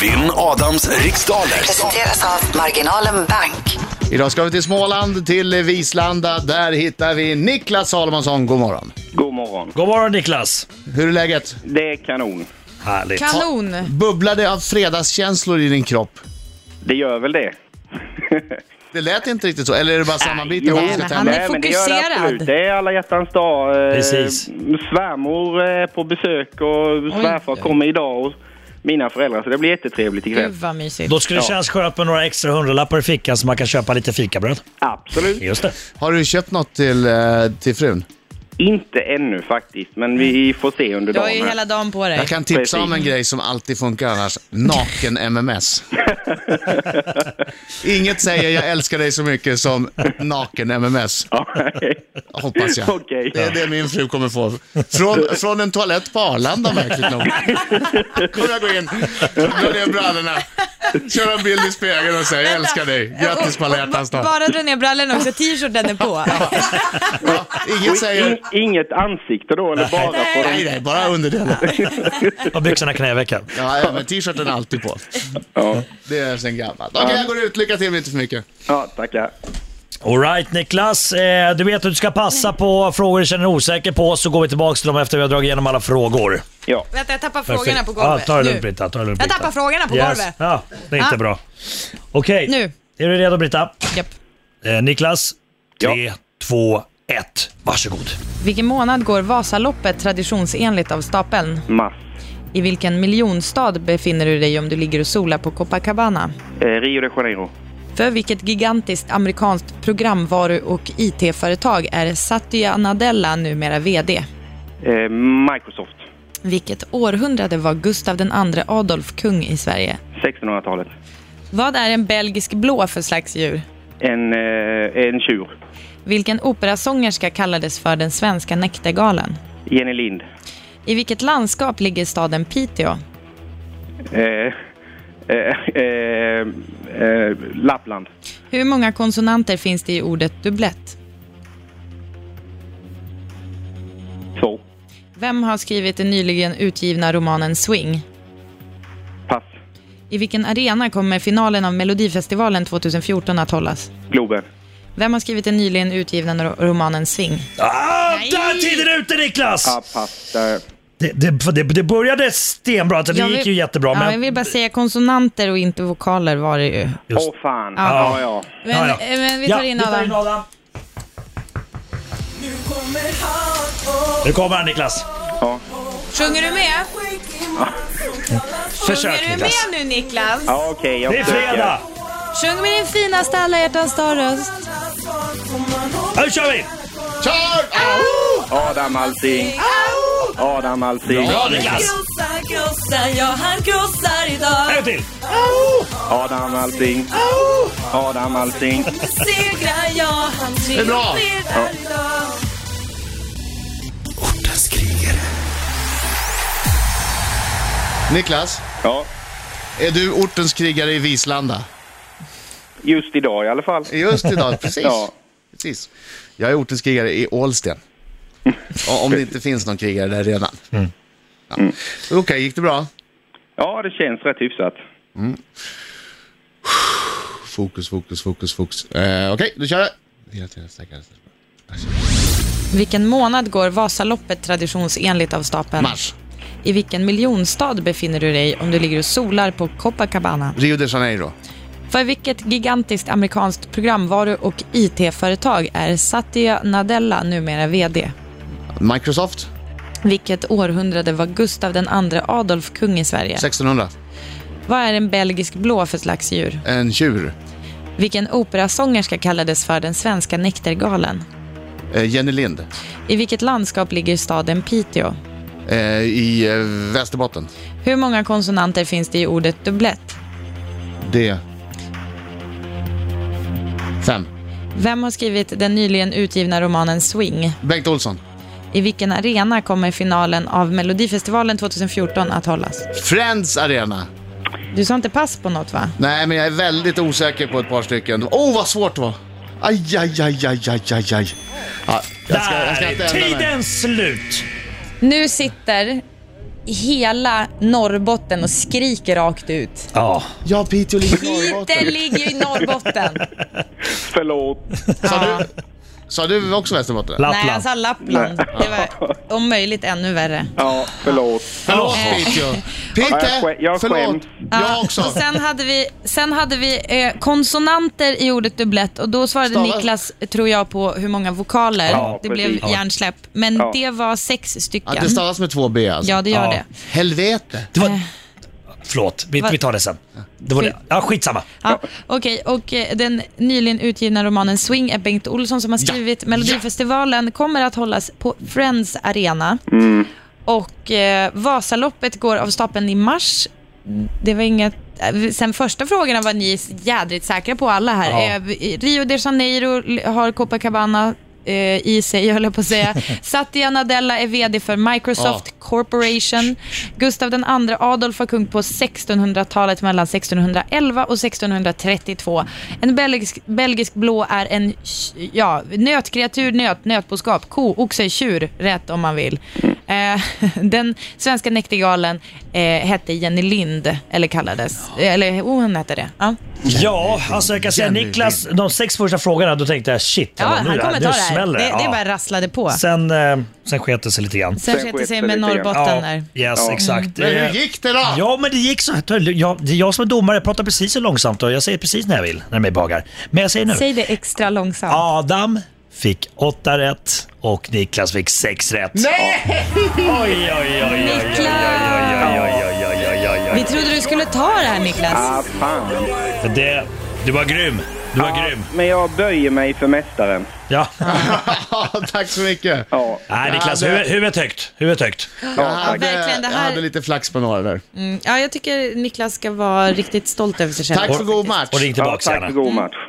Vinn Adams riksdaler. Presenteras av Marginalen Bank. Idag ska vi till Småland, till Vislanda. Där hittar vi Niklas Salomonsson. God morgon. God morgon. God morgon Niklas! Hur är läget? Det är kanon. Härligt. Kanon! Bubblade av fredagskänslor i din kropp? Det gör väl det. Det lät inte riktigt så, eller är det bara sammanbitning? jo, vad som ska men tända? han är- men det gör det fokuserad. absolut. Det är alla hjärtans dag. Eh, Precis. Svärmor är på besök och svärfar kommer idag och mina föräldrar, så det blir jättetrevligt Gud ikväll. vad mysigt. Då skulle det kännas skönt med några extra hundralappar i fickan så man kan köpa lite fikabröd. Absolut. Just det. Har du köpt något till, eh, till frun? Inte ännu faktiskt, men vi får se under Du Mm. har dagen. ju här. hela dagen på dig. Jag kan tipsa om en Precis. grej som alltid funkar annars. Naken-MMS. Inget säger jag älskar dig så mycket som naken-MMS. Hoppas jag. Okej. Det är det min fru kommer få. Från, från en toalett på Arlanda märkligt nog. Kommer jag gå in, dra ner brallorna, köra en bild i spegeln och säga jag älskar dig. Grattis på alla hjärtans dag. Bara dra ner brallorna också, t-shirten är på. Ja, Ingen säger In, inget ansikte då, eller bara på nej, nej, bara underdelen. Och byxorna knävecken. Ja, ja, men t-shirten är alltid på. Ja, Det är sen gammalt. Okej, jag går ut. Lycka till, men inte för mycket. ja tackar. Alright Niklas, eh, du vet att du ska passa på frågor du känner dig osäker på så går vi tillbaka till dem efter vi har dragit igenom alla frågor. Ja, Vänta, jag tappar frågorna på Ja, golvet. ta det Nu. lugnt Britta. Ta det lugnt, Jag Britta. tappar frågorna på Yes. golvet. Ja, det är inte Ah. bra. Okej, Nu. är du redo Britta? Japp. Eh, Niklas, Ja. 3, 2, 1. Varsågod. Vilken månad går Vasaloppet traditionsenligt av stapeln? mass. I vilken miljonstad befinner du dig om du ligger och solar på Copacabana? Eh, Rio de Janeiro. För vilket gigantiskt amerikanskt programvaru och IT-företag är Satya Nadella numera VD? Eh, Microsoft. Vilket århundrade var Gustav II Adolf kung i Sverige? 1600-talet. Vad är en belgisk blå för slags djur? En, eh, en tjur. Vilken operasångerska kallades för den svenska näktergalen? Jenny Lind. I vilket landskap ligger staden Piteå? Eh, eh, eh, eh, Lappland. Hur många konsonanter finns det i ordet dubblett? Två. Vem har skrivit den nyligen utgivna romanen Swing? Pass. I vilken arena kommer finalen av Melodifestivalen 2014 att hållas? Globen. Vem har skrivit den nyligen utgivna ro- romanen Swing? Ah, där tiden är ute Niklas! Ah, pass. Där. Det, det, det, det började stenbra, alltså, det Jag vill- gick ju jättebra. Ja, men... Jag vill bara säga konsonanter och inte vokaler var det ju. Åh Just- fan. Ja. Ja, ja. Men, Ja, ja. eh, men vi tar Ja, in Adam. Nu kommer han Niklas. Sjunger du med? Försök Sjunger du med Niklas. nu Niklas? Ja, okej. jag Det är försöker. fredag! Sjung med din finaste alla hjärtans dag-röst. Nu kör vi! Kör! Adam Alsing. Adam Alsing. Bra Niklas! En till! Adam Alsing. Adam Alsing. Det är bra! Ortens krigare. Niklas, Ja. är du ortens krigare i Vislanda? Just idag i alla fall. Just idag, precis. Ja. precis. Jag är ortens krigare i Ålsten. O- Om det inte finns någon krigare där redan. Ja. Okej, gick det bra? Ja, det känns rätt hyfsat. Fokus, fokus, fokus, fokus. Eh, Okej, då kör vi. Hela tiden säkrare. Vilken månad går Vasaloppet traditionsenligt av stapeln? Mars, I vilken miljonstad befinner du dig om du ligger och solar på Copacabana? Rio de Janeiro. För vilket gigantiskt amerikanskt programvaru och IT-företag är Satya Nadella numera VD? Microsoft, Vilket århundrade var Gustav II Adolf kung i Sverige? 1600. Vad är en belgisk blå för slags djur? En tjur. Vilken operasångerska kallades för den svenska näktergalen? Eh, Jenny Lind. I vilket landskap ligger staden Piteå? Eh, I eh, Västerbotten. Hur många konsonanter finns det i ordet dubblett? D. Fem. Vem har skrivit den nyligen utgivna romanen Swing? Bengt Olsson. I vilken arena kommer finalen av Melodifestivalen 2014 att hållas? Friends Arena. Du sa inte pass på något va? Nej, men jag är väldigt osäker på ett par stycken. Åh, oh, vad svårt det var! Aj, aj, aj, aj, aj, aj, aj. Ja, jag ska, jag ska Där inte är ändra mig. tiden slut! Nu sitter hela Norrbotten och skriker rakt ut. Ja. Ja, Piteå ligger i Piteå Norrbotten. ligger ju i Norrbotten. Förlåt. Ja. Sa du också Västerbotten? Nej, Lappland. han sa Lappland. Det var om möjligt ännu värre. Ja, förlåt. Förlåt Ja. Piteå. Ja, jag skä- Pite, jag förlåt. skäms. Ja, Jag också. Och sen hade vi, sen hade vi eh, konsonanter i ordet dubblett och då svarade Stavar. Niklas, tror jag, på hur många vokaler. Ja, det precis. blev Ja. hjärnsläpp. Men Ja. det var sex Ja, stycken. det stavas med två B alltså. Ja, det gör Ja. det. Helvete. Det var... Förlåt, vi, Vad- vi tar det sen. Det var det. Ja, skitsamma. Ja, Okej, och eh, den nyligen utgivna romanen Swing är Bengt Olsson som har skrivit. Melodifestivalen kommer att hållas på Friends Arena. Och eh, Vasaloppet går av stapeln i mars. Det var inget... eh, Sen första frågorna var ni jädrigt säkra på alla här. Ja. Eh, Rio de Janeiro l- har Copacabana eh, i sig, höll jag på att säga. Satya Nadella är VD för Microsoft Ja. Corporation. Gustav den andre Adolf var kung på 1600-talet mellan 1611 och 1632. En belgisk, belgisk blå är en tj- ja, nötkreatur, nöt, nötboskap, ko, oxe, tjur, rätt om man vill. Eh, den svenska näktergalen eh, hette Jenny Lind, eller kallades, eller oh, hon hette det. Ja. Ja, alltså jag kan säga Jenny Niklas, de sex första frågorna, då tänkte jag shit, Ja, hallå, han nu kommer ta det här. Det, smäller det Ja. bara rasslade på. Sen, eh, sen sket det sig lite grann. Sen Sen sket det sig skiter med det sig. Norrbotten där. yes, Ja. exakt. Men Eh, hur gick det då? Ja, men det gick så här. Ta det lugnt. Jag, det är jag som är domare, jag pratar precis så långsamt och jag säger precis när jag vill, när jag mig bagar. Men jag säger nu. Säg det extra långsamt. Adam fick åtta rätt och Niklas fick sex rätt. Nej! Oj, oj, oj, oj, oj, oj, oj, oj, oj, oj, oj, oj. Vi trodde du skulle ta det här Niklas. Ah, fan. Det, du var grym. Du var grym. Men jag böjer mig för mästaren. Ja. Tack så mycket. Ja, Nej, Niklas, huvud- huvudet högt. Huvudet högt. Jag hade, verkligen, det jag här- hade lite flax på några där. Ehm, Mm, Ja, jag tycker Niklas ska vara riktigt stolt över sig själv. Tack för god match. Och ring ja tillbaks tack för gärna. god match.